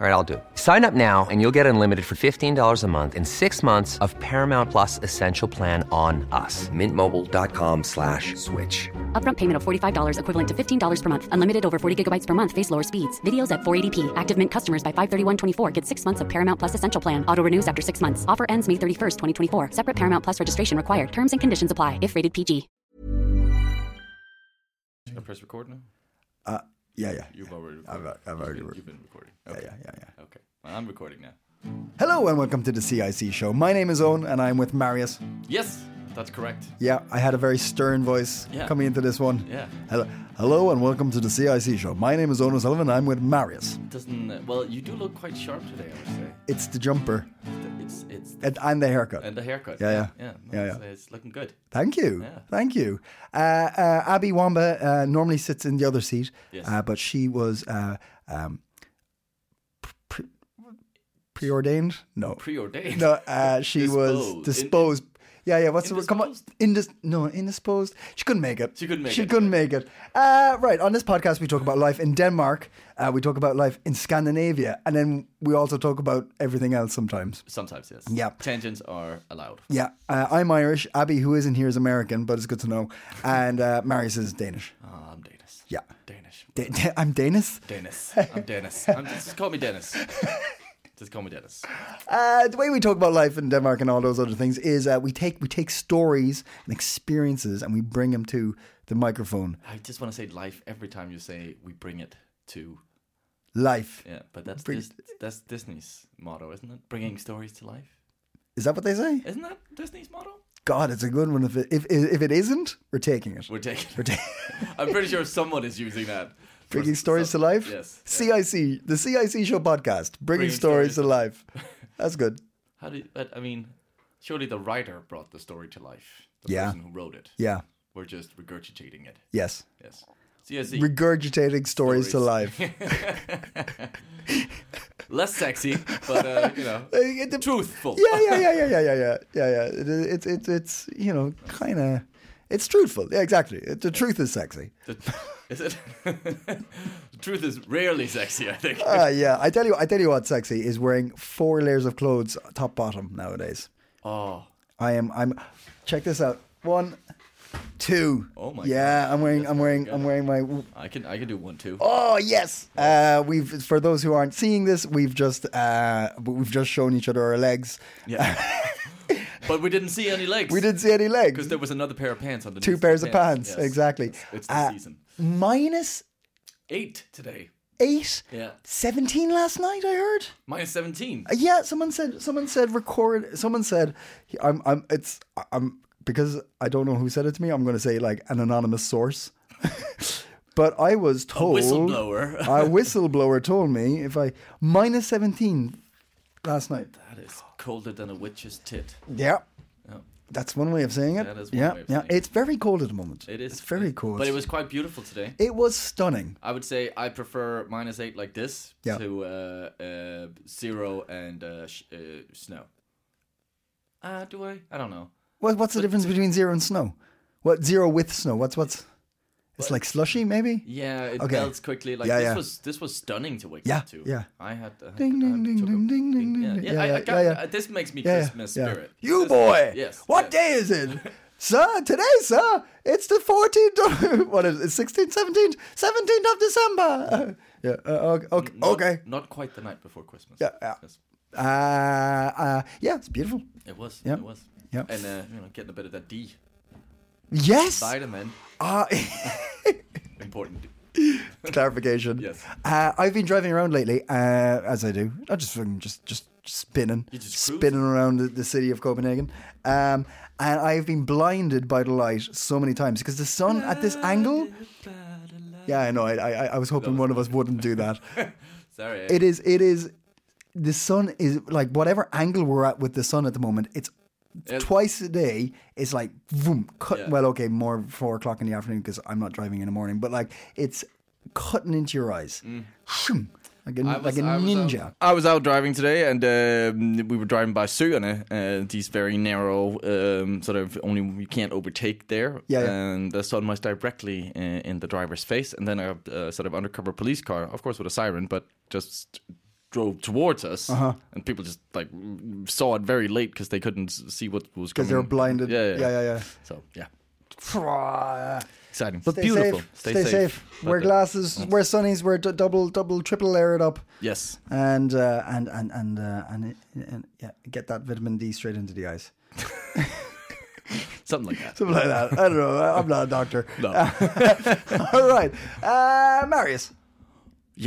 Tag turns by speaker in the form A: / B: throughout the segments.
A: All right, I'll do. it. Sign up now and you'll get unlimited for $15 a month in six months of Paramount Plus Essential Plan on us. Mintmobile.com slash switch.
B: Upfront payment of $45 equivalent to $15 per month. Unlimited over 40 gigabytes per month. Face lower speeds. Videos at 480p. Active Mint customers by 531.24 get six months of Paramount Plus Essential Plan. Auto renews after six months. Offer ends May 31st, 2024. Separate Paramount Plus registration required. Terms and conditions apply if rated PG.
C: Gonna press record now.
D: Uh, yeah, yeah.
C: You've already.
D: I've,
C: recorded.
D: I've
C: You've
D: already.
C: been-
D: re-
C: You've been recording.
D: yeah,
C: Okay.
D: yeah, yeah, yeah.
C: Okay. Well, I'm recording now.
D: Hello and welcome to the CIC show. My name is Owen and I'm with Marius.
C: Yes, that's correct.
D: Yeah, I had a very stern voice
C: Yeah.
D: coming into this one.
C: Yeah.
D: Hello, hello and welcome to the CIC show. My name is Owen O'Sullivan and I'm with Marius.
C: Doesn't uh, well, you do look quite sharp today. I would say
D: It's the jumper
C: it's it's
D: and, and the haircut.
C: and the haircut.
D: Yeah, yeah.
C: yeah,
D: Yeah,
C: it's,
D: yeah.
C: it's looking good.
D: Thank you.
C: Yeah.
D: Thank you. Uh, uh, Abby Wamba uh, normally sits in the other seat,
C: Yes.
D: uh, but she was uh, um, pre- preordained? No.
C: Preordained.
D: No, uh, she was
C: Disposed.
D: disposed. yeah, yeah. What's the word? Come on,
C: Indisposed?
D: indis. No, indisposed. She couldn't make it.
C: She couldn't make
D: She
C: it.
D: couldn't make it. Uh, right. On this podcast, we talk about life in Denmark. Uh, we talk about life in Scandinavia, and then we also talk about everything else sometimes.
C: Sometimes yes.
D: Yeah.
C: Tangents are allowed.
D: Yeah, uh, I'm Irish. Abby, who isn't here, is American, but it's good to know. And uh, Marius is Danish.
C: Ah, I'm Danish.
D: Yeah.
C: Danish.
D: Da- da- I'm Danish.
C: Dennis. I'm Dennis. I'm, just call me Dennis. just call me Dennis.
D: Uh, the way we talk about life in Denmark and all those other things is uh, we take we take stories and experiences and we bring them to the microphone.
C: I just want to say life every time you say we bring it to.
D: Life
C: Yeah, but that's
D: Bring-
C: dis- that's Disney's motto, isn't it? Bringing stories to life.
D: is that what they say?
C: Isn't that Disney's motto?
D: God, it's a good one. If it, if, if it isn't, we're taking it.
C: We're taking.
D: We're ta-
C: I'm pretty sure someone is using that. for
D: bringing
C: s-
D: stories to
C: some-
D: life.
C: Yes.
D: CIC, the CIC show podcast, bringing,
C: Bringing
D: stories,
C: stories
D: to
C: to-
D: life. That's good.
C: How do you, but, I mean? Surely the writer brought the story to life. The
D: Yeah.
C: person who wrote it.
D: Yeah.
C: We're just regurgitating it.
D: Yes.
C: Yes. CSE.
D: Regurgitating stories, to
C: Stories.
D: life.
C: Less sexy, but uh, you know,
D: It dep-
C: truthful.
D: yeah, yeah, yeah, yeah, yeah, yeah, yeah, yeah, yeah. It- it- It's it's it's you know kind of it's truthful. Yeah, exactly. It- the truth is sexy.
C: The- is it? the truth is rarely sexy. I think.
D: Uh, yeah, I tell you, I tell you what's sexy is wearing four layers of clothes, top bottom nowadays.
C: oh,
D: I am. I'm. Check this out. One, two.
C: Oh my
D: Yeah,
C: God.
D: I'm wearing.
C: That's very
D: I'm wearing.
C: good.
D: I'm wearing my.
C: I can I can do one too.
D: Oh yes. Uh, we've for those who aren't seeing this, we've just uh, we've just shown each other our legs.
C: Yeah. but we didn't see any legs.
D: We didn't see any legs.
C: because there was another pair of pants on the
D: Two pairs of pants. Exactly.
C: It's the
D: Uh,
C: season.
D: Minus
C: Eight today.
D: eight.
C: Yeah.
D: 17 last night I heard.
C: Minus seventeen.
D: Uh, Yeah, someone said someone said record someone said I'm I'm it's I'm because I don't know who said it to me. I'm going to say like an anonymous source. but I was told
C: whistleblower.
D: a whistleblower told me if I minus 17 last night.
C: That is colder than a witch's tit.
D: Yeah. That's one way of saying it.
C: That is one
D: yeah,
C: way of
D: yeah.
C: saying it.
D: It's very cold at the moment.
C: It is
D: It's very cold.
C: but it was quite beautiful today.
D: It was stunning.
C: I would say I prefer minus eight like this
D: Yeah.
C: to uh, uh, zero and uh, sh- uh, snow. Uh, do I? I don't know.
D: What, what's the difference between zero and snow? What zero with snow? What's what's? It's like slushy, maybe.
C: Yeah, it
D: Okay.
C: melts quickly. Like
D: Yeah,
C: this
D: yeah.
C: was this was stunning to wake
D: Yeah,
C: up to.
D: yeah.
C: I had. I had-
D: Ding,
C: I
D: ding, ding,
C: took a
D: ding, ding, ding,
C: Yeah,
D: ding.
C: yeah,
D: Yeah,
C: I, I
D: yeah,
C: got,
D: yeah, yeah.
C: uh, this makes me
D: Yeah,
C: Christmas
D: yeah.
C: spirit.
D: You
C: This-
D: boy.
C: Yes.
D: What
C: yes.
D: day is it? sir, today, sir, it's the 14th, of- what is it, 16th, 17th, 17th of December. Uh, yeah, uh, okay, okay.
C: Not,
D: okay.
C: Not quite the night before Christmas.
D: Yeah, yeah.
C: Yes.
D: Uh, uh, yeah, it's beautiful.
C: It was.
D: Yeah.
C: It was.
D: Yeah.
C: And uh, you know, getting a bit of that D
D: Yes.
C: vitamin.
D: Uh,
C: Important.
D: clarification.
C: Yes.
D: Uh, I've been driving around lately, uh, as I do. I just fucking just just spinning,
C: You just cruise.
D: spinning around the, the city of Copenhagen, um, and I've been blinded by the light so many times because the sun at this angle. Yeah, I know. I I, I was hoping one of us wouldn't do that.
C: Sorry.
D: it is. It is. The sun is like whatever angle we're at with the sun at the moment. It's
C: It-
D: twice a day. It's like boom, cut.
C: Yeah.
D: Well, okay, more four o'clock in the afternoon because I'm not driving in the morning. But like it's cutting into your eyes. Shoom. like a,
E: Mm. I was-
D: like a
E: I was out-
D: ninja.
C: I was out driving today, and um, we were driving by Suerne, uh, these very narrow, um, sort of only you can't overtake there.
D: Yeah, yeah.
C: And the sun was directly in, in the driver's face, and then a uh, sort of undercover police car, of course with a siren, but just drove towards us,
D: Uh-huh.
C: and people just like saw it very late because they couldn't s- see what was coming.
D: Because they're blinded.
C: Yeah, yeah,
D: yeah, yeah.
C: So yeah,
D: yeah.
C: exciting, but
D: Stay
C: beautiful.
D: safe. Stay, safe.
C: But,
D: Wear
C: uh,
D: glasses. Wear sunnies. Wear d- double, double, triple layered up.
C: Yes.
D: And uh, and and and uh, and, and yeah, get that vitamin D straight into the eyes.
C: Something like that.
D: Something like that. I don't know. I'm not a doctor.
C: No.
D: All right, uh, Marius.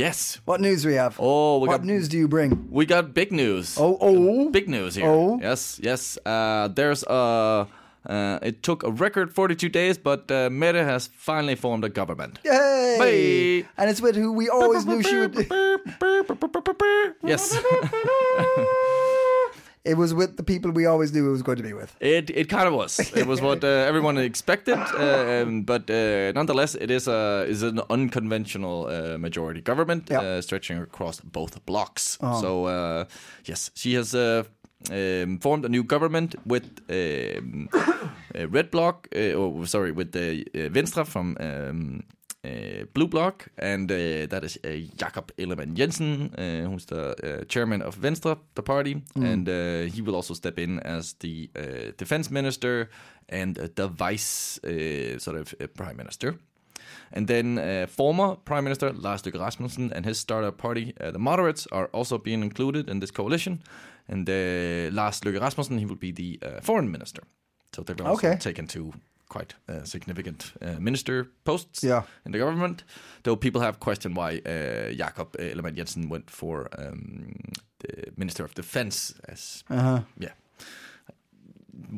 C: yes.
D: What news do we have?
C: Oh, we
D: what
C: got-
D: news do you bring?
C: We got big news.
D: Oh, oh.
C: big news here.
D: Oh.
C: yes, yes. Uh, there's a. Uh, it took a record 42 days, but uh, Meta has finally formed a government.
D: Yay!
C: Bye.
D: And it's with who we always knew she would.
C: Yes,
D: It was with the people we always knew it was going to be with.
C: it it kind of was. It was what uh, everyone expected, uh, um, but uh, nonetheless, it is a is an unconventional uh, majority government
D: Yeah.
C: uh, stretching across both blocks. So uh, yes, she has uh, um, formed a new government with. Um, uh, Red Block, uh, or sorry, with the uh, Venstre from um, uh, Blue Block, and uh, that is uh, Jakob Ellemann Jensen, uh, who's the uh, chairman of Venstre, the party, and uh, he will also step in as the uh, defense minister and uh, the vice uh, sort of uh, prime minister. And then uh, former Prime Minister Lars Løkke Rasmussen and his startup party, uh, the Moderates, are also being included in this coalition. And uh, Lars Løkke Rasmussen, he will be the uh, foreign minister. So they've also
D: Okay.
C: taken two quite uh, significant uh, minister posts
D: Yeah.
C: in the government. Though people have questioned why uh, Jakob Ellemann Jensen went for um, the Minister of Defense. As yeah,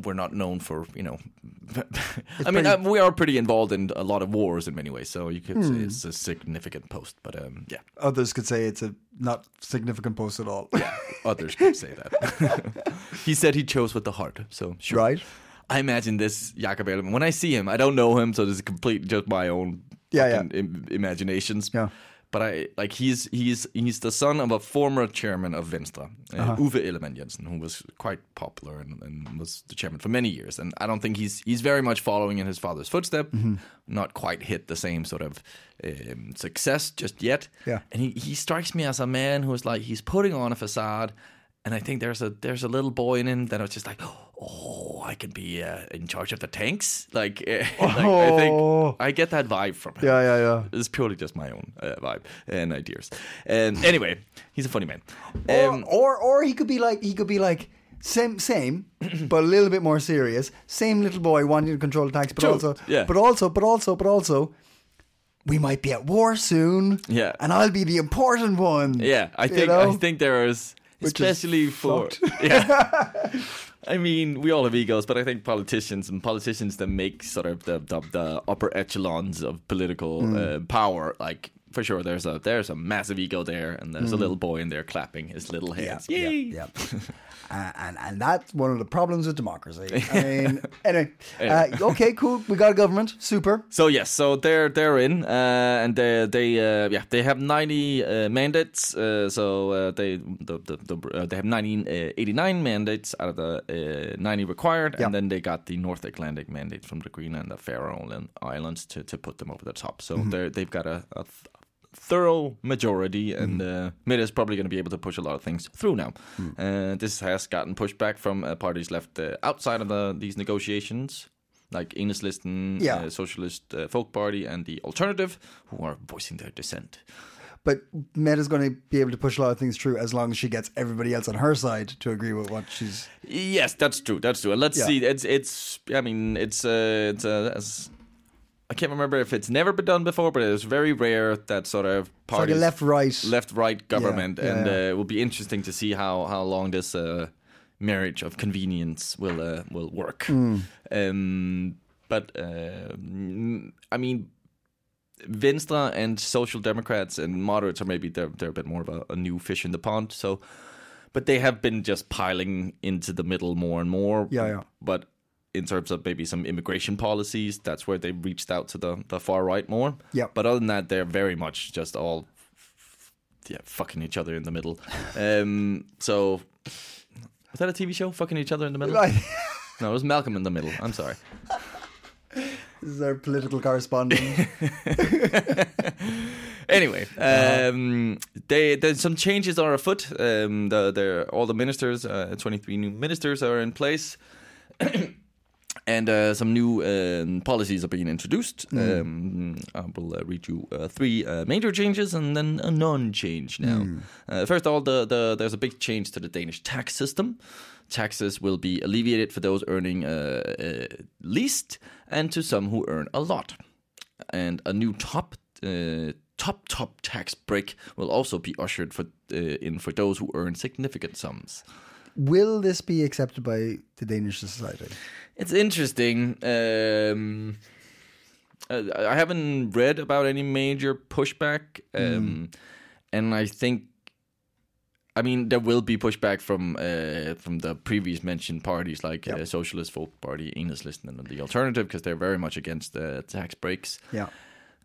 C: we're not known for you know. I mean, uh, we are pretty involved in a lot of wars in many ways, so you could say it's a significant post. But um, yeah,
D: Others could say it's a not significant post at all.
C: others could say that. he said he chose with the heart, so sure.
D: Right.
C: I imagine this Jakob Ellemann. When I see him, I don't know him, so this is complete just my own
D: Yeah,
C: fucking Im- imaginations.
D: Yeah.
C: But I like he's he's he's the son of a former chairman of Venstre, uh,
D: Uh-huh.
C: Uwe Ellemann Jensen, who was quite popular and, and was the chairman for many years. And I don't think he's he's very much following in his father's footstep.
D: Mm-hmm.
C: Not quite hit the same sort of um, success just yet.
D: Yeah.
C: And he, he strikes me as a man who is like he's putting on a facade, and I think there's a there's a little boy in him that was just like, oh, I could be uh, in charge of the tanks. Like, eh, like, I
D: Oh.
C: think I get that vibe from him.
D: Yeah, yeah, yeah.
C: It's purely just my own uh, vibe and ideas. And anyway, he's a funny man. Um,
D: or, or or he could be like he could be like same same but a little bit more serious same little boy wanting to control attacks but
C: True,
D: also
C: yeah.
D: but also but also but also we might be at war soon
C: Yeah.
D: and i'll be the important one
C: yeah, I
D: You
C: think
D: know?
C: I think there is
D: Which is
C: especially for yeah. I mean, we all have egos, but I think politicians and politicians that make sort of the the, the upper echelons of political
D: Hmm.
C: uh, power, like for sure, there's a there's a massive ego there, and there's a little boy in there clapping his little
D: Hmm. yeah,
C: hands.
D: yeah,
C: Yay!
D: yeah. Uh, and and that's one of the problems with democracy. I mean, anyway, Uh, okay, cool. We got a government, super.
C: So yes, so they're they're in, uh, and they they uh, yeah they have ninety uh, mandates. Uh, so uh, they the, the, the, uh, they have 19, uh, 89 mandates out of the uh, ninety required,
D: Yeah.
C: and then they got the North Atlantic mandate from the Green and the Faroe Island- Islands to, to put them over the top. So they're they've got a, a th- thorough majority, and
D: Mm.
C: uh, Mid is probably going to be able to push a lot of things through now. Uh, this has gotten pushback from uh, parties left uh, outside of the, these negotiations. Like Enhedslisten,
D: Yeah.
C: uh, Socialist uh, Folk Party, and the Alternative, who are voicing their dissent.
D: But Meta's going to be able to push a lot of things through as long as she gets everybody else on her side to agree with what she's.
C: Yes, that's true. That's true. And let's
D: Yeah.
C: see. It's it's. I mean, it's uh, it's uh, as, I can't remember if it's never been done before, but it's very rare that sort of
D: It's like
C: parties
D: a left right.
C: left right government,
D: yeah,
C: and
D: yeah.
C: Uh, it will be interesting to see how how long this uh, marriage of convenience will uh, will work.
D: Hmm.
C: Um, but uh, mm, I mean. Venstre and Social Democrats and moderates are maybe they're they're a bit more of a, a new fish in the pond. So, but they have been just piling into the middle more and more.
D: Yeah, yeah.
C: But in terms of maybe some immigration policies, that's where they reached out to the the far right more.
D: Yeah.
C: But other than that, they're very much just all yeah, fucking each other in the middle. Um, so was that a TV show? Fucking each other in the middle?
D: Like,
C: No, it was Malcolm in the Middle. I'm sorry.
D: this is our political correspondent.
C: Anyway, um, they, there's some changes are afoot. Um, the, the, all the ministers, uh, 23 new ministers, are in place, and uh, some new um, policies are being introduced. Um, I will uh, read you uh, three uh, major changes and then a non-change. Now, uh, first of all, the, the, there's a big change to the Danish tax system. Taxes will be alleviated for those earning uh, uh, least, and to some who earn a lot and a new top uh, top top tax break will also be ushered for uh, in for those who earn significant sums.
D: Will this be accepted by the Danish society?
C: It's interesting. Um, uh, I haven't read about any major pushback, um, and I think. I mean, there will be pushback from uh, from the previous mentioned parties like uh, Socialist Folk Party, Enhedslisten, and the Alternative, because they're very much against uh, tax breaks.
D: Yeah.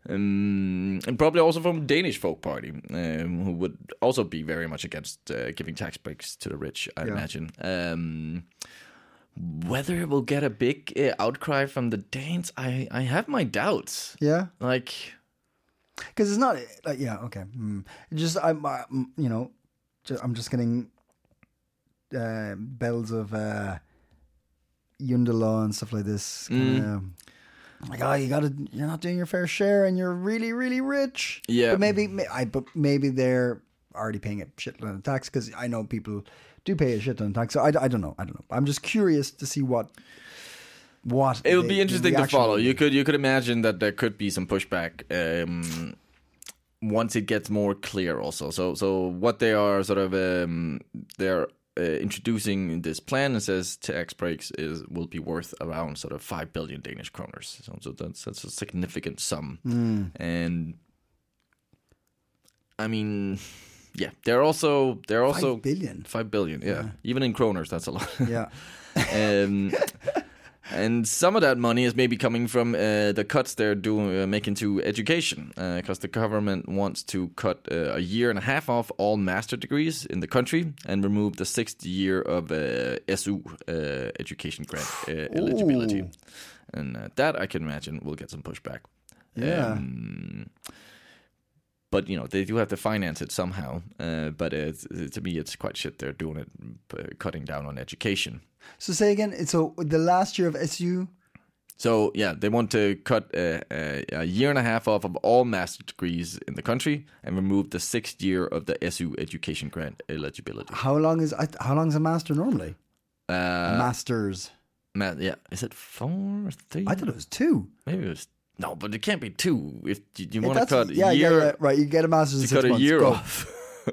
C: um, and probably also from Danish Folk Party, um, who would also be very much against uh, giving tax breaks to the rich. I imagine. Um, whether it will get a big uh, outcry from the Danes, I I have my doubts.
D: Yeah.
C: Like,
D: Because it's not like yeah okay. Mm. Just I'm uh, mm, you know, just, I'm just getting uh, bells of uh, Yundalaw and stuff like this.
C: Mm.
D: kinda, Like oh, you gotta you're not doing your fair share and you're really really rich.
C: Yeah.
D: but maybe may- I but maybe they're already paying a shitload of tax because I know people do pay a shitload of tax. So I, I don't know. I don't know. I'm just curious to see what what
C: it would
D: the-
C: be
D: the
C: interesting to
D: reaction
C: follow.
D: will be.
C: You could you could imagine that there could be some pushback um, once it gets more clear. Also, so so what they are sort of um, they're uh, introducing this plan and says tax breaks is will be worth around sort of five billion Danish kroners. So, so that's that's a significant sum,
D: Hmm.
C: and I mean. Yeah, they're also they're also
D: billion?
C: Five billion, yeah. Even in kroners, that's a lot.
D: yeah.
C: Um, and some of that money is maybe coming from uh, the cuts they're doing, uh, making to education, because the government wants to cut uh, a year and a half off all master degrees in the country and remove the sixth year of uh, SU uh, education grant uh, eligibility. And uh, that I can imagine will get some pushback.
D: Yeah.
C: Um, but you know they do have to finance it somehow. Uh, but uh, th- to me, it's quite shit they're doing it, uh, cutting down on education.
D: So say again. So the last year of SU.
C: So yeah, they want to cut a, a, a year and a half off of all master degrees in the country and remove the sixth year of the SU education grant eligibility.
D: How long is I th- how long is a master normally?
C: Uh,
D: Masters.
C: ma- yeah, is it four or three?
D: I thought it was two.
C: maybe it was no, but it can't be two if you, you want to
D: That's-
C: cut a
D: yeah,
C: year.
D: yeah, yeah, right. You get a master's
C: to
D: in six
C: cut a
D: months.
C: year
D: Go.
C: off,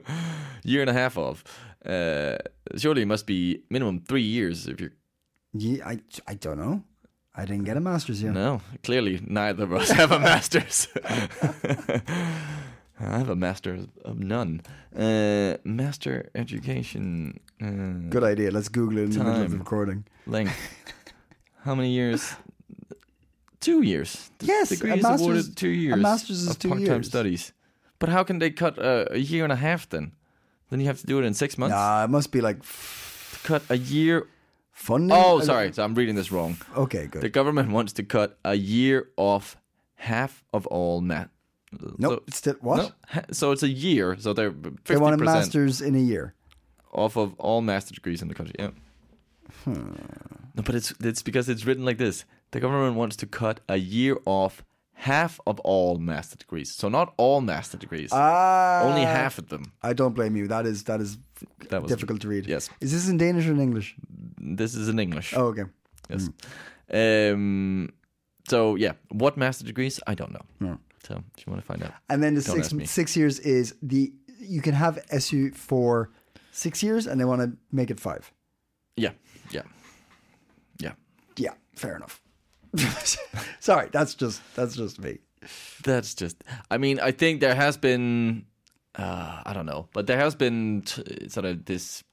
C: year and a half off. Uh, surely it must be minimum three years if you're.
D: Ye- I, I don't know. I didn't get a master's here.
C: No, clearly neither of us have a master's. I have a master of none. Uh, master education uh,
D: Good idea. Let's Google it in the middle of the
C: Time.
D: recording.
C: length. How many years? Two years. The
D: Yes, a
C: degree is
D: master's-
C: awarded two
D: a
C: years.
D: master's is
C: of
D: two
C: part-time
D: years.
C: studies. But how can they cut a, a year and a half then? Then you have to do it in six months.
D: Nah, it must be like f-
C: Cut a year
D: funding.
C: Oh,
D: Uh,
C: sorry. So I'm reading this wrong.
D: Okay,
C: The
D: good.
C: government wants to cut a year off half of all mat.
D: Nope,
C: so-
D: it's still what?
C: No, ha- so it's a year. So they're
D: They want a
C: 50%
D: master's in a year.
C: off of all master degrees in the country. Yeah.
D: Hmm.
C: No, but it's it's because it's written like this. The government wants to cut a year off half of all master degrees. So not all master degrees.
D: Ah,
C: only half of them.
D: I don't blame you. That is that is
C: That was
D: difficult to read.
C: Yes.
D: Is this in Danish or in English?
C: This is in English.
D: Oh, okay.
C: Yes. Um. So yeah, what master degrees? I don't know. So do you want to find out?
D: And then the
C: Don't
D: six
C: ask me.
D: six years is the you can have SU for six years, and they want to make it five.
C: Yeah. Yeah. Yeah.
D: Yeah, fair enough. Sorry, that's just that's just me.
C: That's just. I mean, I think there has been. Uh, I don't know, but there has been t- sort of this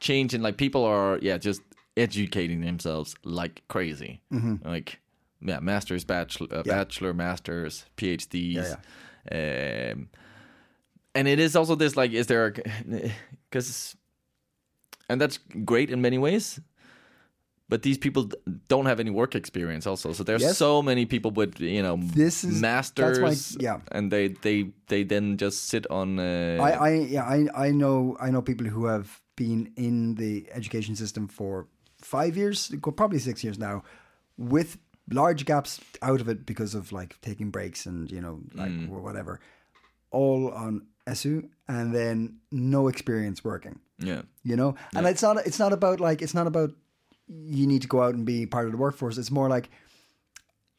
C: change in like people are yeah just educating themselves like crazy, like yeah, masters, bachelor, uh, bachelor, masters, PhDs,
D: Yeah,
C: Um, and it is also this like is there because and that's great in many ways but these people d- don't have any work experience also so there's
D: Yes.
C: so many people with you know
D: This is- that's why-
C: masters
D: yeah.
C: and they they they then just sit on uh,
D: I, I yeah, I I know I know people who have been in the education system for five years, go- probably six years now, with large gaps out of it because of like taking breaks and you know like
C: Mm.
D: wh- whatever, all on SU and then no experience working.
C: yeah
D: You know, and it's not it's not about like it's not about you need to go out and be part of the workforce. It's more like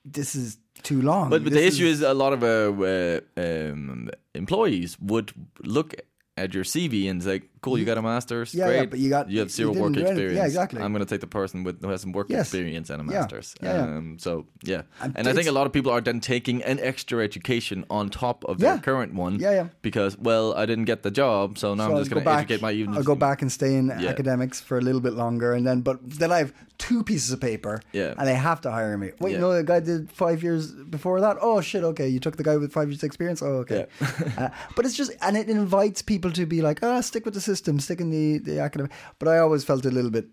D: this is too long.
C: But, but the
D: This
C: issue is a lot of uh, uh, um, employees would look at your CV and say, "Cool, you got a master's,
D: Yeah, yeah,
C: great,
D: but you got-
C: you have
D: you
C: zero
D: didn't
C: work
D: do anything." Yeah,
C: experience.
D: exactly.
C: I'm going to take the person with who has some work
D: Yes.
C: experience and a
D: Yeah,
C: master's.
D: yeah, yeah.
C: Um, so yeah,
D: And
C: and, I think
D: it's-
C: a lot of people are then taking an extra education on top of
D: Yeah.
C: their current one.
D: Yeah, yeah.
C: Because well, I didn't get the job, so now
D: So
C: I'm
D: I'll
C: just
D: go
C: going to
D: back-
C: educate my. even-
D: I'll go back and stay in
C: Yeah.
D: academics for a little bit longer, and then but then I have two pieces of paper,
C: Yeah.
D: and they have to hire me. Wait,
C: Yeah.
D: no, the guy did five years before that. Oh shit, okay, you took the guy with five years experience. Oh okay, Uh, but it's just and it invites people to be like, ah, stick with the system, stick in the the academic. But I always felt a little bit.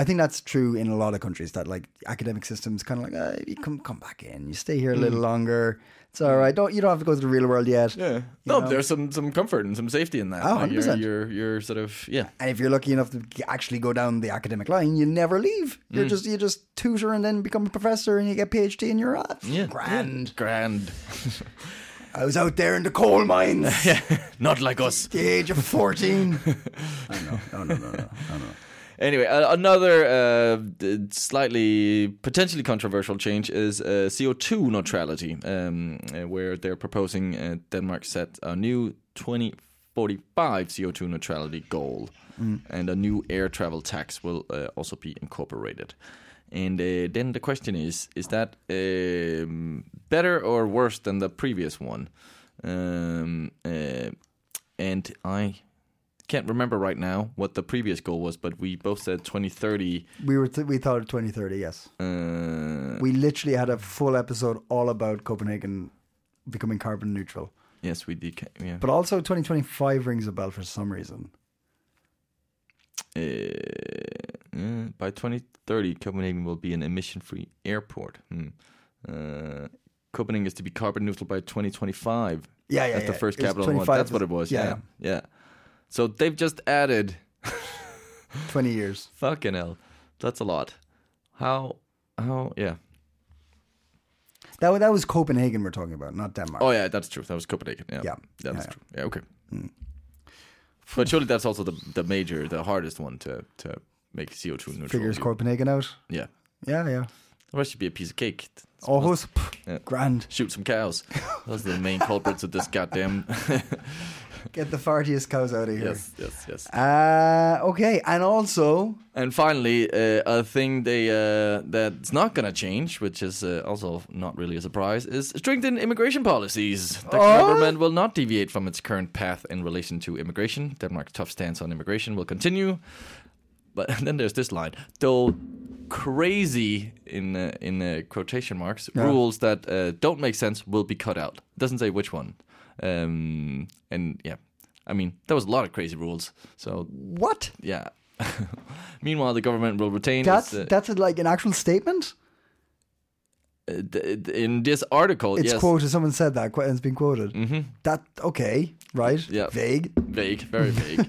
D: I think that's true in a lot of countries that like academic systems kind of like ah, you come come back in, you stay here a little longer. It's all right. Don't you don't have to go to the real world yet.
C: Mm. Yeah. No, there's some some comfort and some safety in that.
D: Oh,
C: Like, you're,
D: 100%.
C: you're you're sort of yeah.
D: And if you're lucky enough to g- actually go down the academic line, you never leave.
C: Mm.
D: You're just you just tutor and then become a professor and you get PhD and you're off.
C: Yeah.
D: Grand.
C: Grand.
D: I was out there in the coal mines at
C: Not like us.
D: the age of fourteen. I know. No, no, no, no. I know.
C: Anyway, uh, another uh, d- slightly potentially controversial change is uh, CO2 neutrality, um, uh, where they're proposing uh, Denmark set a new 2045 CO2 neutrality goal, and a new air travel tax will uh, also be incorporated. And uh, then the question is: Is that um, better or worse than the previous one? Um, uh, and I can't remember right now what the previous goal was, but we both said 2030.
D: We were th- we thought of 2030. Yes,
C: Uh,
D: we literally had a full episode all about Copenhagen becoming carbon neutral.
C: yes, we did. ca- Yeah.
D: But also 2025 rings a bell for some reason.
C: Uh, yeah, Uh, by 2030, Copenhagen will be an emission-free airport. Hmm. Uh, Copenhagen is to be carbon neutral by 2025.
D: Yeah, yeah,
C: That's the
D: yeah.
C: first
D: It was
C: capital one.
D: 25
C: That's what it was.
D: yeah,
C: Yeah, yeah. So they've just added
D: 20 years.
C: fucking hell. That's a lot. How? How? Yeah.
D: That wa- that was Copenhagen we're talking about, not Denmark.
C: Oh yeah, that's true. That was Copenhagen. Yeah,
D: Yeah.
C: that
D: Yeah,
C: is
D: yeah.
C: true. Yeah, Mm. okay. But surely that's also the the major, the hardest one to to make CO two neutral.
D: Figures Copenhagen out.
C: Yeah,
D: Yeah, yeah.
C: or should be a piece of cake.
D: Aarhus, pff,
C: Yeah.
D: Oh, grand.
C: Shoot some cows. Those are the main culprits of this goddamn.
D: Get the fartiest cows out of here.
C: yes, yes, yes.
D: Uh, okay, and also,
C: And finally, uh, a thing they uh, that's not going to change, which is uh, also not really a surprise, is strengthen immigration policies. The government will not deviate from its current path in relation to immigration. Denmark's tough stance on immigration will continue. But then there's this line, though crazy in uh, in uh, quotation marks rules that uh, don't make sense will be cut out. Doesn't say which one. Um, and yeah, I mean there was a lot of crazy rules. So
D: what?
C: yeah. Meanwhile, the government will retain
D: That's
C: its, uh,
D: that's like an actual statement.
C: uh, th- th- in this article.
D: It's
C: yes, Mm-hmm.
D: quoted. Someone said that. qu- It's been quoted. That okay, right?
C: Yeah.
D: Vague.
C: vague, very vague.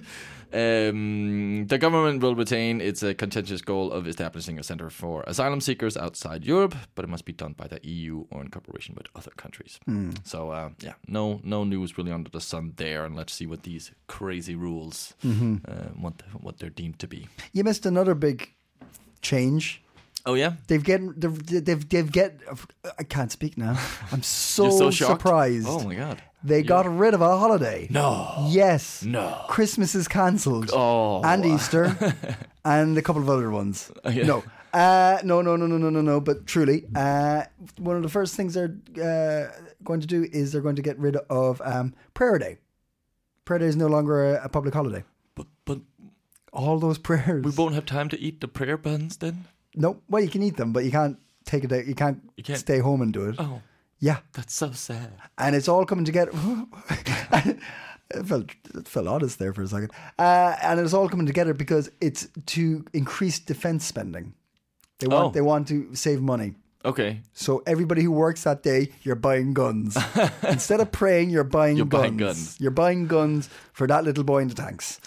C: um, the government will retain its uh, contentious goal of establishing a center for asylum seekers outside Europe, but it must be done by the EU or in cooperation with other countries. So uh, yeah, no, no news really under the sun there, and let's see what these crazy rules, uh, what what they're deemed to be.
D: You missed another big change.
C: Oh yeah,
D: They've get they've they've, they've get. I can't speak now. I'm so,
C: You're so shocked?
D: surprised.
C: Oh my god.
D: They got rid of a holiday.
C: No.
D: Yes.
C: No.
D: Christmas is cancelled.
C: Oh.
D: And Easter. and a couple of other ones.
C: yeah.
D: No. Uh, no, no, no, no, no, no, no. But truly, uh, one of the first things they're uh, going to do is they're going to get rid of um, prayer day. Prayer day is no longer a, a public holiday.
C: But but
D: All those prayers.
C: we won't have time to eat the prayer buns then.
D: no, well, you can eat them, but you can't take it. out. You can't,
C: You can't-
D: stay home and do it.
C: Oh,
D: Yeah,
C: that's so sad.
D: and it's all coming together. It felt it felt honest there for a second, uh, and it's all coming together because it's to increase defense spending. They want
C: Oh.
D: they want to save money.
C: Okay.
D: So everybody who works that day, you're buying guns. Instead of praying, you're buying
C: You're
D: guns.
C: buying guns.
D: You're buying guns for that little boy in the tanks.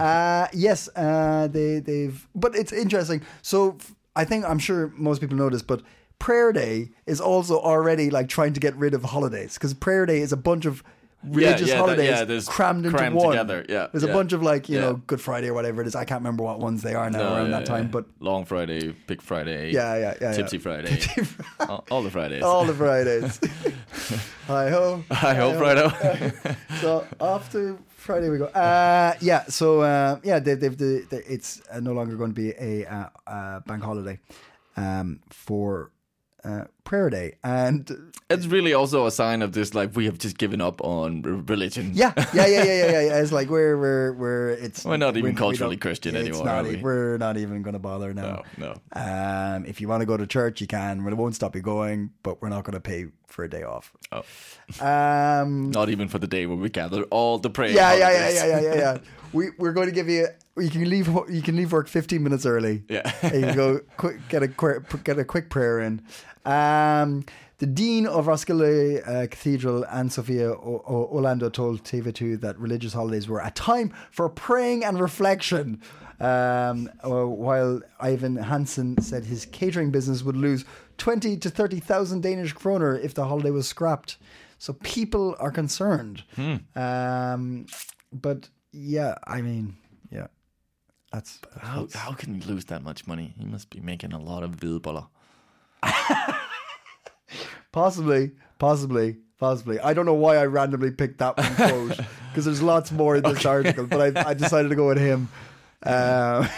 D: uh, yes, uh, they they've. But it's interesting. So f- I think I'm sure most people know this, but prayer day is also already like trying to get rid of holidays because prayer day is a bunch of
C: yeah,
D: religious
C: that-
D: holidays
C: yeah, there's
D: crammed into
C: crammed
D: one.
C: together, yeah,
D: there's a
C: yeah,
D: bunch of like you
C: yeah.
D: know Good Friday or whatever it is. I can't remember what ones they are now
C: No,
D: around
C: Oh, yeah,
D: that time,
C: yeah.
D: but
C: Long Friday, Big Friday.
D: Yeah, yeah, yeah,
C: Tipsy
D: yeah.
C: Friday. all, all the Fridays.
D: all the Fridays. Hi ho.
C: I hope Friday.
D: so after Friday we go. Uh, yeah. So uh, yeah, they've, they've, they they it's uh, no longer going to be a uh, uh, bank holiday um, for uh, prayer day, and
C: it's really also a sign of this, like we have just given up on r- religion.
D: yeah, yeah, yeah, yeah, yeah. yeah, yeah. It's like we're we're we're it's
C: We're not even
D: we- we
C: culturally
D: don't-
C: Christian
D: it's
C: anymore,
D: Not,
C: are
D: e-
C: we?
D: We're not even going to bother now.
C: No, no.
D: Um, if you want to go to church, you can. We won't stop you going, but we're not going to pay for a day off.
C: Oh.
D: Um,
C: Not even for the day when we gather all the prayer.
D: yeah, yeah, yeah,
C: holidays.
D: yeah, yeah, yeah, yeah. We we're going to give you. You can leave. wo- You can leave work fifteen minutes early.
C: Yeah.
D: and you go quick, get a quick, get a quick prayer in. Um, the dean of Roskilde uh, Cathedral, Anne Sophia o- o- Orlando, told TV2 that religious holidays were a time for praying and reflection. Um, uh, while Ivan Hansen said his catering business would lose twenty to thirty thousand Danish kroner if the holiday was scrapped. So people are concerned. Um, but yeah, I mean, yeah, that's
C: How, how can you lose that much money? You must be making a lot of hvidboller.
D: possibly, possibly, possibly. I don't know why I randomly picked that one quote because there's lots more in this article, but I, I decided to go with him. Um,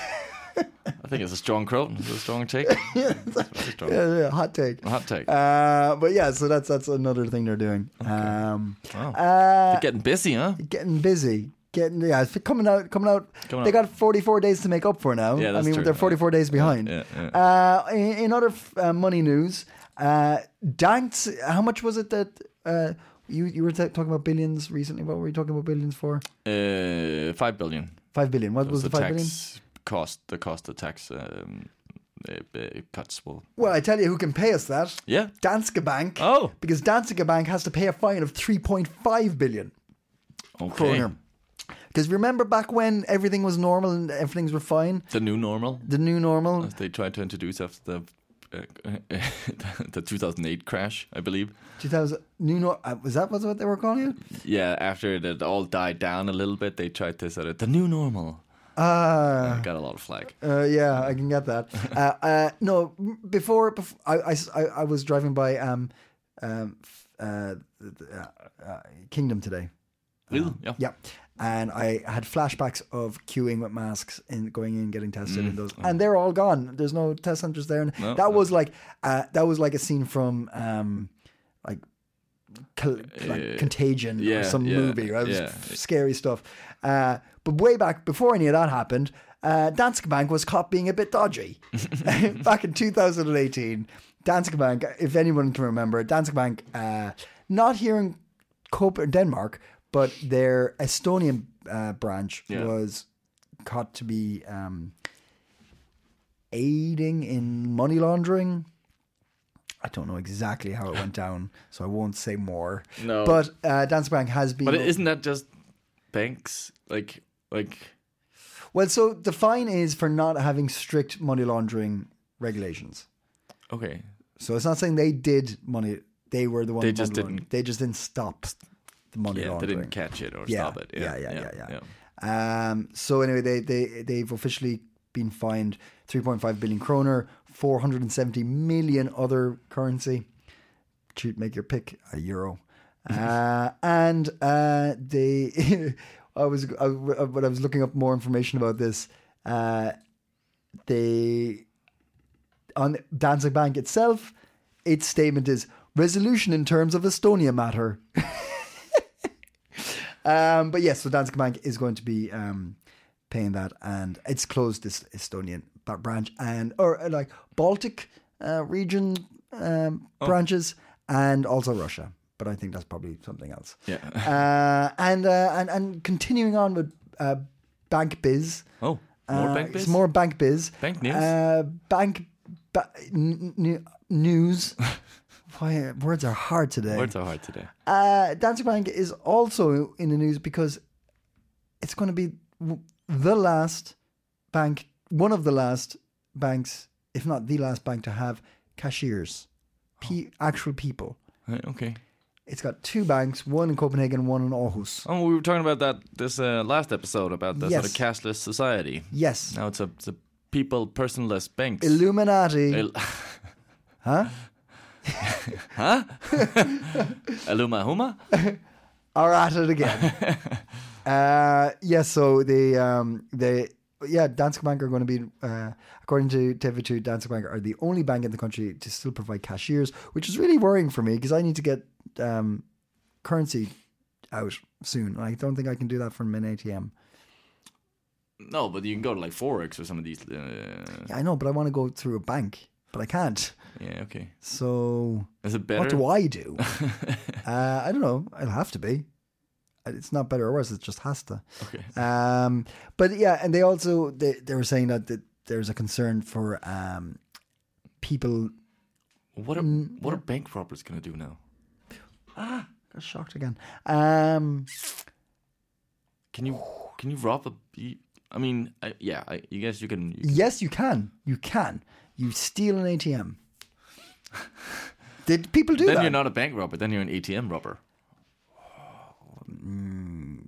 C: I think it's a strong quote. It's a strong take. yeah, it's a strong
D: yeah, hot take.
C: hot take.
D: Uh, but yeah, so that's that's another thing they're doing. Um,
C: Wow.
D: uh,
C: You're getting busy, huh?
D: getting busy. Getting yeah, it's coming out, coming out.
C: Coming
D: they
C: out.
D: got forty four days to make up for now.
C: Yeah,
D: I
C: that's
D: mean,
C: true.
D: they're forty four days behind.
C: Yeah, yeah.
D: Uh, in, in other f- uh, money news, uh, Danks, how much was it that uh, you you were t- talking about billions recently? What were you talking about billions for?
C: Uh, five billion.
D: Five billion. What was
C: the
D: the
C: tax
D: five billion?
C: cost? The cost of tax um, uh, uh, cuts will.
D: Well, I tell you, who can pay us that?
C: Yeah.
D: Danske Bank.
C: Oh.
D: because Danske Bank has to pay a fine of three point five billion.
C: Okay.
D: kroner. Because remember back when everything was normal and everything's were fine,
C: The new normal.
D: the new normal.
C: as they tried to introduce after the uh, the 2008 crash, I believe.
D: 2000 new nor uh, was that was what they were calling it?
C: Yeah, after it all died down a little bit, they tried to sort of the new normal.
D: Ah,
C: Got a lot of flack.
D: uh, yeah, I can get that. uh, uh, no, m- before, bef I- I, s- I- I was driving by um, um, f- uh, th- th- uh, uh, Kingdom today.
C: Really? yeah.
D: Uh-huh. Yeah. And I had flashbacks of queuing with masks and going in and getting tested
C: Mm.
D: and those,
C: Oh.
D: and they're all gone. There's no test centers there. And that was like, uh, that was like a scene from, um, like, col- like Contagion or
C: Uh, yeah,
D: some
C: yeah,
D: movie, right? It was
C: yeah.
D: f- scary stuff. Uh, but way back before any of that happened, uh, Danske Bank was caught being a bit dodgy. back in 2018, Danske Bank, if anyone can remember, Danske Bank, uh, not here in Copenhagen, Denmark, but their Estonian uh, branch
C: Yeah.
D: was caught to be um, aiding in money laundering. I don't know exactly how it went down, so I won't say more.
C: No.
D: but uh, Danske Bank has been.
C: But isn't that just banks? Like, like.
D: Well, so the fine is for not having strict money laundering regulations.
C: Okay.
D: So it's not saying they did money; they were the one.
C: They
D: money
C: just
D: laundering.
C: didn't-
D: They just didn't stop the money
C: Yeah, they
D: laundering.
C: didn't catch it or
D: yeah,
C: stop it.
D: yeah, yeah, yeah, yeah. Um, so anyway, they they they've officially been fined 3.5 billion kroner, 470 million other currency. Shoot, make your pick a euro. uh, and uh, they, I was I, when I was looking up more information about this. Uh, they on Danzig Bank itself, its statement is resolution in terms of Estonia matter. um, but yes, so Danzig Bank is going to be um, paying that, and it's closed this Estonian b- branch and or uh,
C: Oh.
D: like Baltic uh, region um, branches, and also Russia. but I think that's probably something else.
C: Yeah.
D: Uh, and uh, and and continuing on with uh, bank biz.
C: Oh, more
D: Uh,
C: bank
D: It's
C: biz?
D: more bank biz.
C: Bank news?
D: Uh, bank ba- n- n- news. Why words are hard today?
C: Words are hard today.
D: Uh, Dancer Bank is also in the news because it's going to be w- the last bank, one of the last banks, if not the last bank, to have cashiers, pe- actual people.
C: Right, Uh, okay.
D: It's got two banks, one in Copenhagen, one in Aarhus.
C: Oh, we were talking about that this uh, last episode about the sort
D: Yes.
C: of cashless society.
D: Yes,
C: Now it's a, it's a people personless banks.
D: Illuminati.
C: Il- huh? huh? Aluma Huma?
D: are at it again. uh, yeah, so the um, the yeah, Danske Bank are going to be, uh, according to TV2, Danske Bank are the only bank in the country to still provide cashiers, which is really worrying for me because I need to get um, currency out soon. I don't think I can do that from an ATM.
C: No, but you can go to like Forex or some of these. Uh,
D: Yeah, I know, but I want to go through a bank, but I can't.
C: yeah, okay.
D: So
C: Is it better?
D: what do I do? uh, I don't know. It'll have to be. It's not better or worse. It just has to.
C: Okay.
D: Um, but yeah, and they also they, they were saying that, that there's a concern for um, people.
C: What are,
D: Mm,
C: what are bank robbers going to do now?
D: Got oh, shocked again. Um,
C: Can you can you rob a? you- I mean, I, yeah, I, you guess you can. You can
D: yes, you can. You can. You steal an ATM. Did people do
C: then
D: that?
C: you're not a bank robber. Then you're an ATM robber.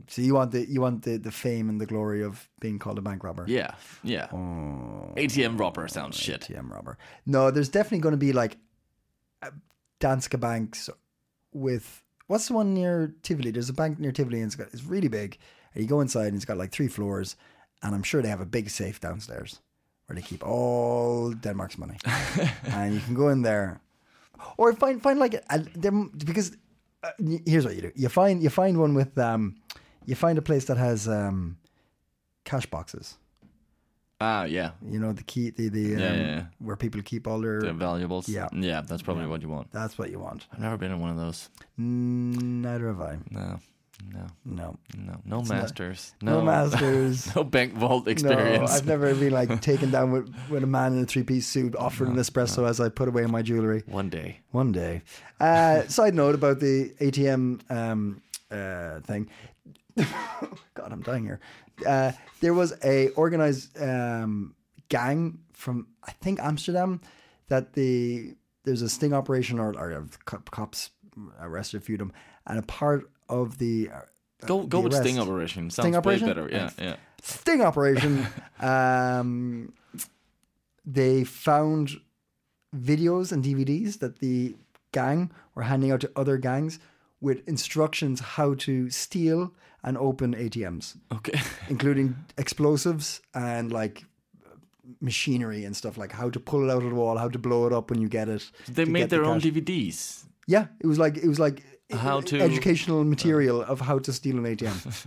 D: so you want the you want the, the fame and the glory of being called a bank robber.
C: Yeah, yeah.
D: Oh.
C: ATM robber sounds shit.
D: ATM robber. No, there's definitely going to be like uh, Danske banks with what's the one near Tivoli? There's a bank near Tivoli, and it's got it's really big. And you go inside, and it's got like three floors, and I'm sure they have a big safe downstairs where they keep all Denmark's money, and you can go in there, or find find like a, them because uh, y- here's what you do: you find you find one with um, you find a place that has um, cash boxes.
C: Ah, yeah.
D: You know the key, the the um,
C: Yeah, yeah, yeah.
D: where people keep all their.
C: They're valuables.
D: Yeah.
C: yeah. That's probably what you want.
D: That's what you want.
C: I've never been in one of those.
D: Mm, Neither have I.
C: No, no,
D: No,
C: no, no masters.
D: no, masters.
C: no bank vault
D: No,
C: experience.
D: I've never been like taken down with, with a man in a three piece suit offering an espresso as I put away my jewelry.
C: One day.
D: One day. Uh, side note about the ATM um, uh, thing. God, I'm dying here. Uh, there was a organized um, gang from I think Amsterdam that the there's a sting operation or, or co- cops arrested a few of them, and a part of the uh,
C: Go go
D: the
C: with sting
D: arrest-
C: operation. Sounds
D: Sting operation?
C: way better. Yeah, yeah.
D: sting operation. um, they found videos and DVDs that the gang were handing out to other gangs with instructions how to steal and open ATMs,
C: Okay.
D: including explosives and like machinery and stuff like how to pull it out of the wall, how to blow it up when you get it.
C: they
D: to
C: made
D: get the
C: their own
D: cash.
C: DVDs.
D: Yeah, it was like it was like
C: How to-
D: educational material of how to steal an ATM.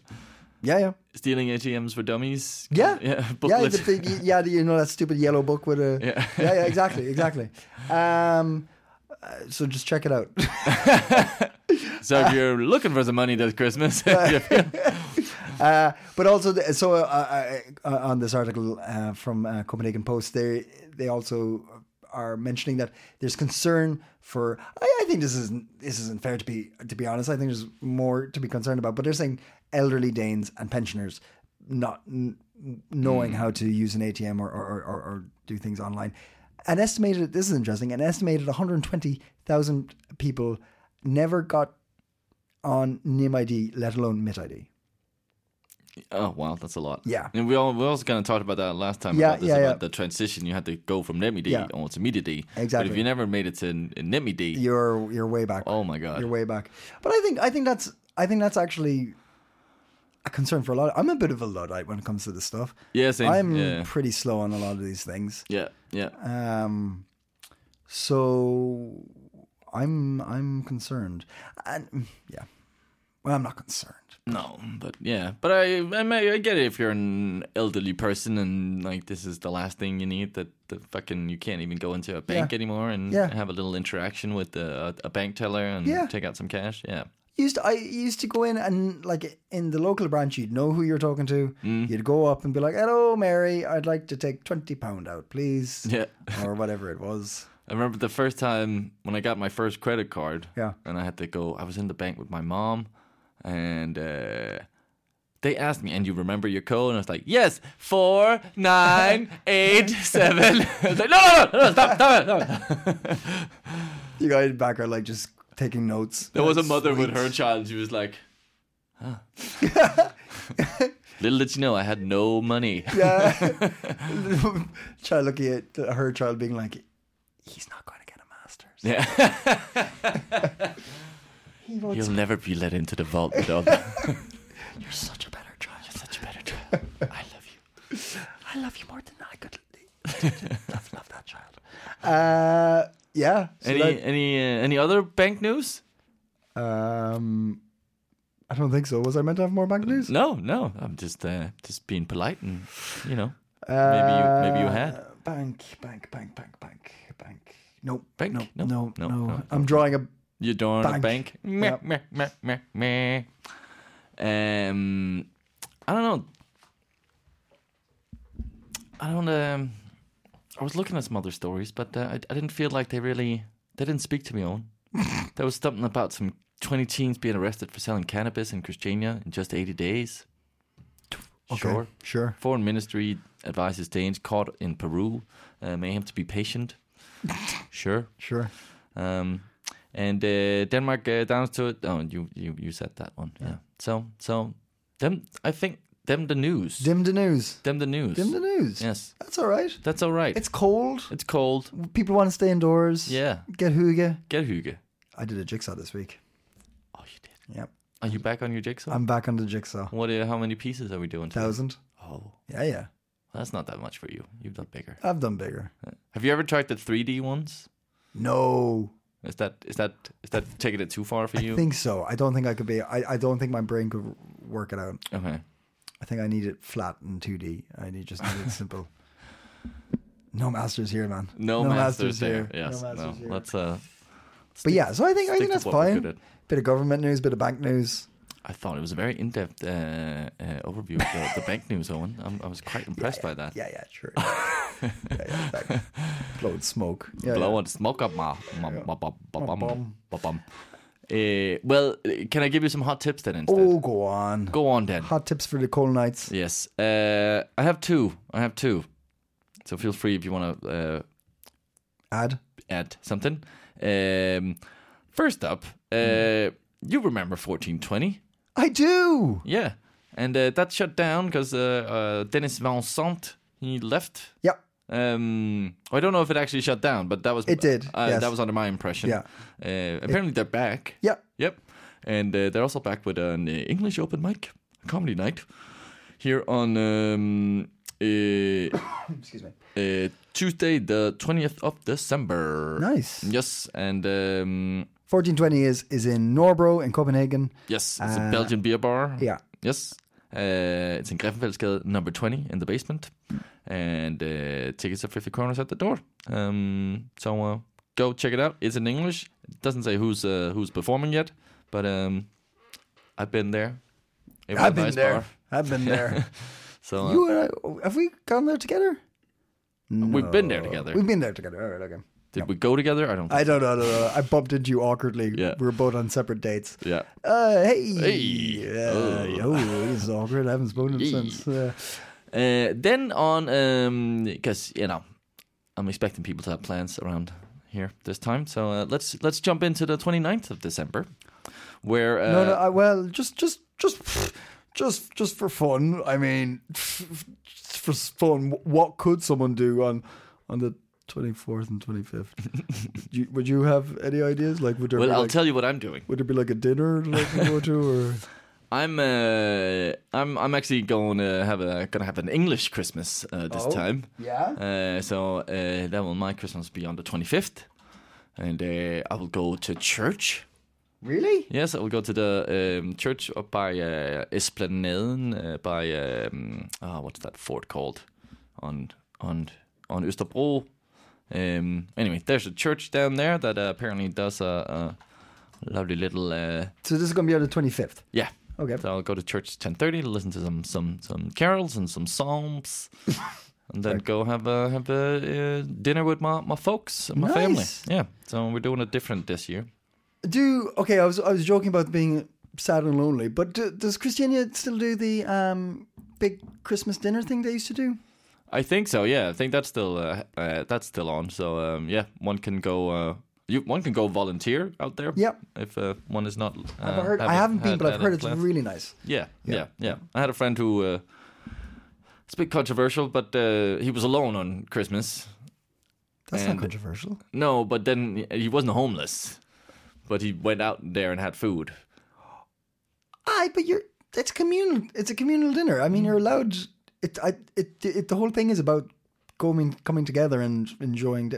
D: yeah, yeah.
C: Stealing ATMs for dummies.
D: Yeah,
C: yeah.
D: yeah,
C: Booklet.
D: the big, yeah, the- you know that stupid yellow book with a yeah, yeah, exactly, exactly. Um, uh, so just check it out.
C: so if you're looking for some money this Christmas,
D: Uh, but also, the, so uh, uh, uh, on this article uh, from uh, Copenhagen Post, they they also are mentioning that there's concern for. I, I think this isn't this isn't fair to be to be honest. I think there's more to be concerned about. But they're saying elderly Danes and pensioners not n- knowing how to use an ATM or or, or, or or do things online. An estimated this is interesting. An estimated 120,000 people never got on NIMID, let alone MITID.
C: Oh wow, that's a lot.
D: Yeah.
C: and we all we also kind of talked about that last time.
D: Yeah,
C: about this,
D: yeah,
C: about
D: yeah.
C: the transition you had to go from NetMeD
D: Yeah.
C: on to MediaD. But if
D: Exactly.
C: you never made it to N- NetMeD,
D: you're you're way back.
C: oh my god,
D: you're way back. But I think I think that's I think that's actually a concern for a lot. I'm a bit of a luddite when it comes to this stuff.
C: Yeah, same.
D: I'm
C: Yeah.
D: pretty slow on a lot of these things.
C: yeah, yeah.
D: Um, so I'm I'm concerned, and yeah, Well, I'm not concerned.
C: No, but yeah, but I I, may, I get it if you're an elderly person and like this is the last thing you need that the fucking you can't even go into a bank
D: Yeah.
C: anymore and
D: Yeah.
C: have a little interaction with uh, a, a bank teller and
D: Yeah.
C: take out some cash. Yeah,
D: Used I used to go in and like in the local branch, you'd know who you're talking to.
C: Mm.
D: You'd go up and be like, "Hello, Mary, I'd like to take twenty pound out, please."
C: yeah.
D: or whatever it was.
C: I remember the first time when I got my first credit card.
D: Yeah.
C: And I had to go, I was in the bank with my mom and uh, they asked me, and you remember your code? And I was like, yes, four, nine, eight, seven. I was like, no, no, no, no, stop, stop it. Stop it.
D: You guys back are like just taking notes.
C: There was a
D: That's
C: mother with
D: sweet.
C: her child. and She was like, huh. Little did you know, I had no money.
D: Yeah. child looking at her child being like, he's not going to get a master's.
C: Yeah.
D: He wants
C: You'll never be let into the vault, with all the-
D: You're such a better child. You're such a better child.
C: I love you.
D: I love you more than I could. love, love that child. Uh, yeah. so
C: Any
D: that-
C: any uh, any other bank news?
D: um, I don't think so. Was I meant to have more bank news?
C: No, no. I'm just uh, just being polite and you know. Maybe you- maybe you had.
D: Uh, Bank, bank, bank, bank, bank, bank. Nope.
C: Bank?
D: No,
C: No,
D: no, no.
C: no, no,
D: I'm drawing a.
C: You're doing a
D: Bank.
C: bank. Meh,
D: Yep.
C: meh, meh, meh, meh. Um I don't know. I don't um I was looking at some other stories, but uh, I, I didn't feel like they really they didn't speak to me on. there was something about some 20 teens being arrested for selling cannabis in Christiania in just 80 days.
D: Okay,
C: Sure.
D: Sure.
C: Foreign Ministry advises Danes caught in Peru uh, may have to be patient. sure.
D: Sure.
C: Um, and uh, Denmark uh, downs to it. Oh, you, you you said that one. Yeah. So so them. I think them the news.
D: Dim the news.
C: them the news.
D: Dim the news.
C: Yes.
D: That's all right.
C: That's all right.
D: It's cold.
C: it's cold.
D: People want to stay indoors.
C: Yeah.
D: Get hygge.
C: Get hygge.
D: I did a jigsaw this week.
C: Oh, you did.
D: Yep.
C: Are you back on your jigsaw?
D: I'm back on the jigsaw.
C: what? Uh, how many pieces are we doing? Today?
D: Thousand.
C: Oh,
D: Yeah, yeah.
C: that's not that much for you. You've done bigger.
D: I've done bigger.
C: Have you ever tried the 3D ones?
D: No.
C: Is that is that is that taking it too far for you?
D: I think so. I don't think I could be. I, I don't think my brain could work it out.
C: okay.
D: I think I need it flat and 2D. I need just need it simple. No masters here, man.
C: No, masters, there. Yes.
D: no
C: No.
D: masters here.
C: Let's uh.
D: But yeah, so I think I
C: stick
D: think
C: to
D: that's
C: what we're
D: fine.
C: good at.
D: Bit of government news, bit of bank news.
C: I thought it was a very in-depth uh, uh, overview of the, the bank news, Owen. I'm, I was quite impressed by that.
D: Yeah, yeah, sure. yeah, yeah, like, blowing smoke. Yeah, yeah.
C: Blowing smoke up my, my, my, bum, bum, bum, bum, bum. Uh, well, uh, can I give you some hot tips then instead?
D: Oh, go on.
C: Go on then.
D: Hot tips for the cold nights.
C: Yes. Uh, I have two. I have two. So feel free if you want to uh,
D: Ad.
C: add something. Um, first up, uh,
D: Mm-hmm.
C: you remember 1420.
D: I do.
C: Yeah. And uh, that shut down because uh, uh, Dennis Vincent, he left
D: Yep.
C: Um, I don't know if it actually shut down, but that was
D: It did,
C: Uh,
D: yes.
C: That was under my impression.
D: Yeah.
C: Uh, apparently they're back.
D: Yep.
C: Yep. And uh, they're also back with an uh, English open mic comedy night here on um, uh,
D: Excuse me.
C: uh, Tuesday, the twentieth of December.
D: Nice.
C: Yes, and um,
D: Fourteen twenty is is in Norbro in Copenhagen.
C: yes, it's a Belgian beer bar.
D: Uh, yeah.
C: Yes. Uh, it's in Greffenfeldsgade number 20 in the basement. And uh, tickets are 50 kroners at the door. Um, so uh, go check it out. It's in English. It doesn't say who's uh, who's performing yet, but um, I've been there. It was a
D: I've been
C: nice
D: there.
C: bar.
D: I've been there.
C: So uh,
D: you and I, have we gone there together?
C: we've been there together.
D: We've been there together. All right, okay.
C: Did we go together? I don't think
D: I don't know. No, no, no. I bumped into you awkwardly.
C: Yeah.
D: We were both on separate dates.
C: Yeah.
D: Uh, hey.
C: Hey. Oh.
D: Uh, yo, this is awkward. I haven't spoken to him since. Uh,
C: Uh, then on, because you know, I'm expecting people to have plans around here this time. So uh, let's let's jump into the 29th of December, where uh,
D: no, no. I, well, just, just, just, just, just for fun. I mean, just for fun. What could someone do on on the twenty fourth and twenty fifth? would you have any ideas? Like, would there
C: well,
D: be
C: I'll
D: like,
C: tell you what I'm doing.
D: would it be like a dinner to like go to, or
C: I'm uh, I'm I'm actually going to have a gonna have an English Christmas uh, this time.
D: Oh, yeah?
C: Uh, so uh, that will my Christmas be on the 25th, and uh, I will go to church.
D: Really?
C: Yes, I will go to the um, church up by uh, Esplanaden uh, by um, ah, what's that fort called on on on Østerbro. Um, anyway, there's a church down there that uh, apparently does a, a lovely little uh,
D: So this is going to be on the 25th.
C: yeah.
D: Okay.
C: So I'll go to church ten thirty, listen to some some some carols and some psalms, and then go have a have a uh, dinner with my my folks and my family.
D: Nice.
C: Yeah. So we're doing it different this year.
D: Do okay. I was I was joking about being sad and lonely, but do, does Christiania still do the um, big Christmas dinner thing they used to do?
C: I think so. Yeah, I think that's still uh, uh, that's still on. So um, yeah, one can go. Uh, you one can go volunteer out there.
D: Yep.
C: If uh, one is not. Uh,
D: I've heard, I
C: haven't
D: haven't been,
C: had
D: but I've
C: that
D: heard
C: in
D: it's
C: class.
D: really nice.
C: Yeah, yeah, yeah, I had a friend who. Uh, it's a bit controversial, but uh, he was alone on Christmas.
D: That's
C: And-
D: not controversial.
C: No, but then he wasn't homeless, but he went out there and had food.
D: Aye, but you're it's communal. It's a communal dinner. I mean, you're allowed. It I it, it the whole thing is about going coming together and enjoying di-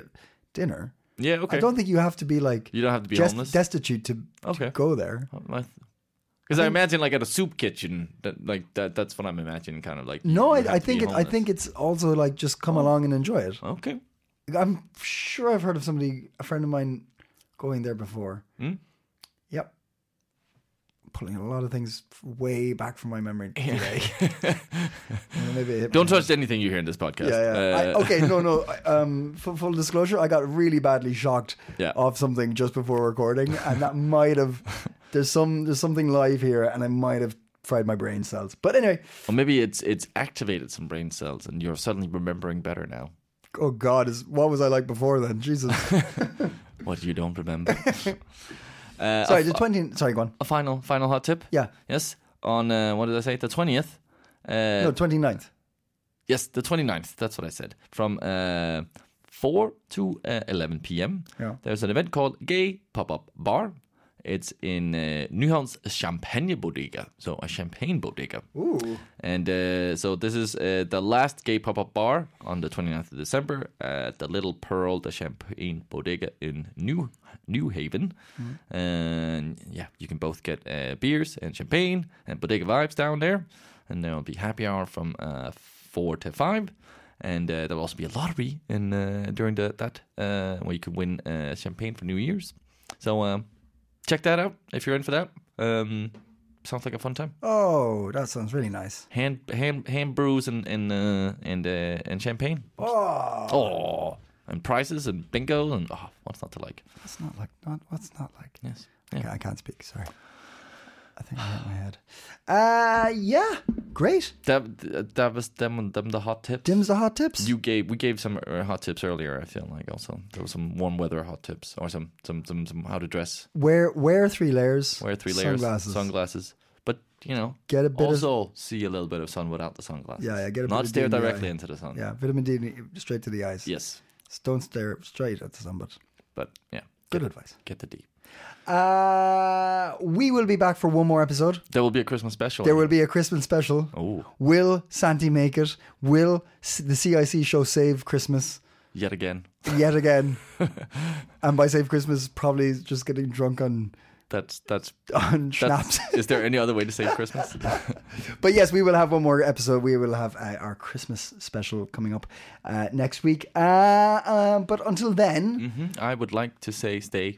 D: dinner.
C: Yeah. Okay.
D: I don't think you have to be like
C: you don't have to be
D: just
C: homeless.
D: destitute to, to
C: Okay.
D: go there.
C: Because I, imagine like at a soup kitchen, that like that. That's what I'm imagining, kind of like. you-
D: No,
C: you have
D: I, I
C: to be
D: think it, I
C: homeless. Oh.
D: think it's also like just come along and enjoy it.
C: Okay.
D: I'm sure I've heard of somebody, a friend of mine, going there before.
C: Hmm?
D: Yep. Pulling a lot of things way back from my memory. Today. Maybe it hit
C: Don't touch anything you hear in this podcast.
D: Yeah, yeah. I,
C: Uh,
D: okay, no, no. I- Um, full, full disclosure, I got really badly shocked
C: Yeah.
D: of something just before recording, and that might have there's some there's something live here, and I might have fried my brain cells. But anyway,
C: Or maybe it's it's activated some brain cells, and you're suddenly remembering better now.
D: oh God, is what was I like before then? Jesus.
C: What you don't remember. uh,
D: Sorry,
C: a,
D: the twenty. Sorry, go on.
C: a final final hot tip.
D: Yeah,
C: Yes. On uh, what did I say? The twentieth. Uh,
D: no, 29th.
C: Yes, the 29th. That's what I said. From uh, 4 to uh, 11 p.m.
D: Yeah.
C: There's an event called Gay Pop-Up Bar. It's in uh, Nyhavn's Champagne Bodega. So a champagne bodega.
D: Ooh.
C: And uh, so this is uh, the last Gay Pop-Up Bar on the 29th of December at the Little Pearl, the Champagne Bodega in New New Haven. And yeah, you can both get uh, beers and champagne and bodega vibes down there. And there will be happy hour from uh, four to five. And uh, there will also be a lottery in uh, during the, that uh, where you can win uh, champagne for New Year's. So um, check that out if you're in for that. Um, sounds like a fun time
D: Oh, that sounds really nice.
C: hand hand hand brews and and uh, and uh, and champagne.
D: Oh,
C: Oh, and prizes and bingo and oh, what's not to like?
D: that's not like not what's not like.
C: Yes.
D: Okay, I can't speak. Sorry. I think I hit my head. Uh, yeah, great.
C: That that was them them the hot tips.
D: Dim's the hot tips.
C: You gave we gave some uh, hot tips earlier. I feel like also there was some warm weather hot tips or some some some, some how to dress,
D: Wear wear three layers.
C: wear three layers,
D: Sunglasses.
C: sunglasses. But you know,
D: Get a bit of-
C: also see a little bit of sun without the sunglasses.
D: Yeah, yeah, get a bit
C: not
D: of
C: stare
D: DMI.
C: directly into the sun.
D: Yeah, vitamin D straight to the eyes.
C: Yes,
D: S- Don't stare straight at the sun, but
C: but yeah,
D: good
C: get,
D: advice.
C: get the D.
D: Uh, we will be back for one more episode.
C: There will be a Christmas special.
D: There will be a Christmas special.
C: Oh.
D: Will Santi make it? Will s- the CIC show save Christmas
C: yet again.
D: yet again? and by save Christmas, probably just getting drunk on
C: That's that's
D: on
C: That's,
D: schnapps.
C: is there any other way to say Christmas?
D: But yes, we will have one more episode. We will have uh, our Christmas special coming up uh, next week. Uh, uh, but until then,
C: Mm-hmm. I would like to say stay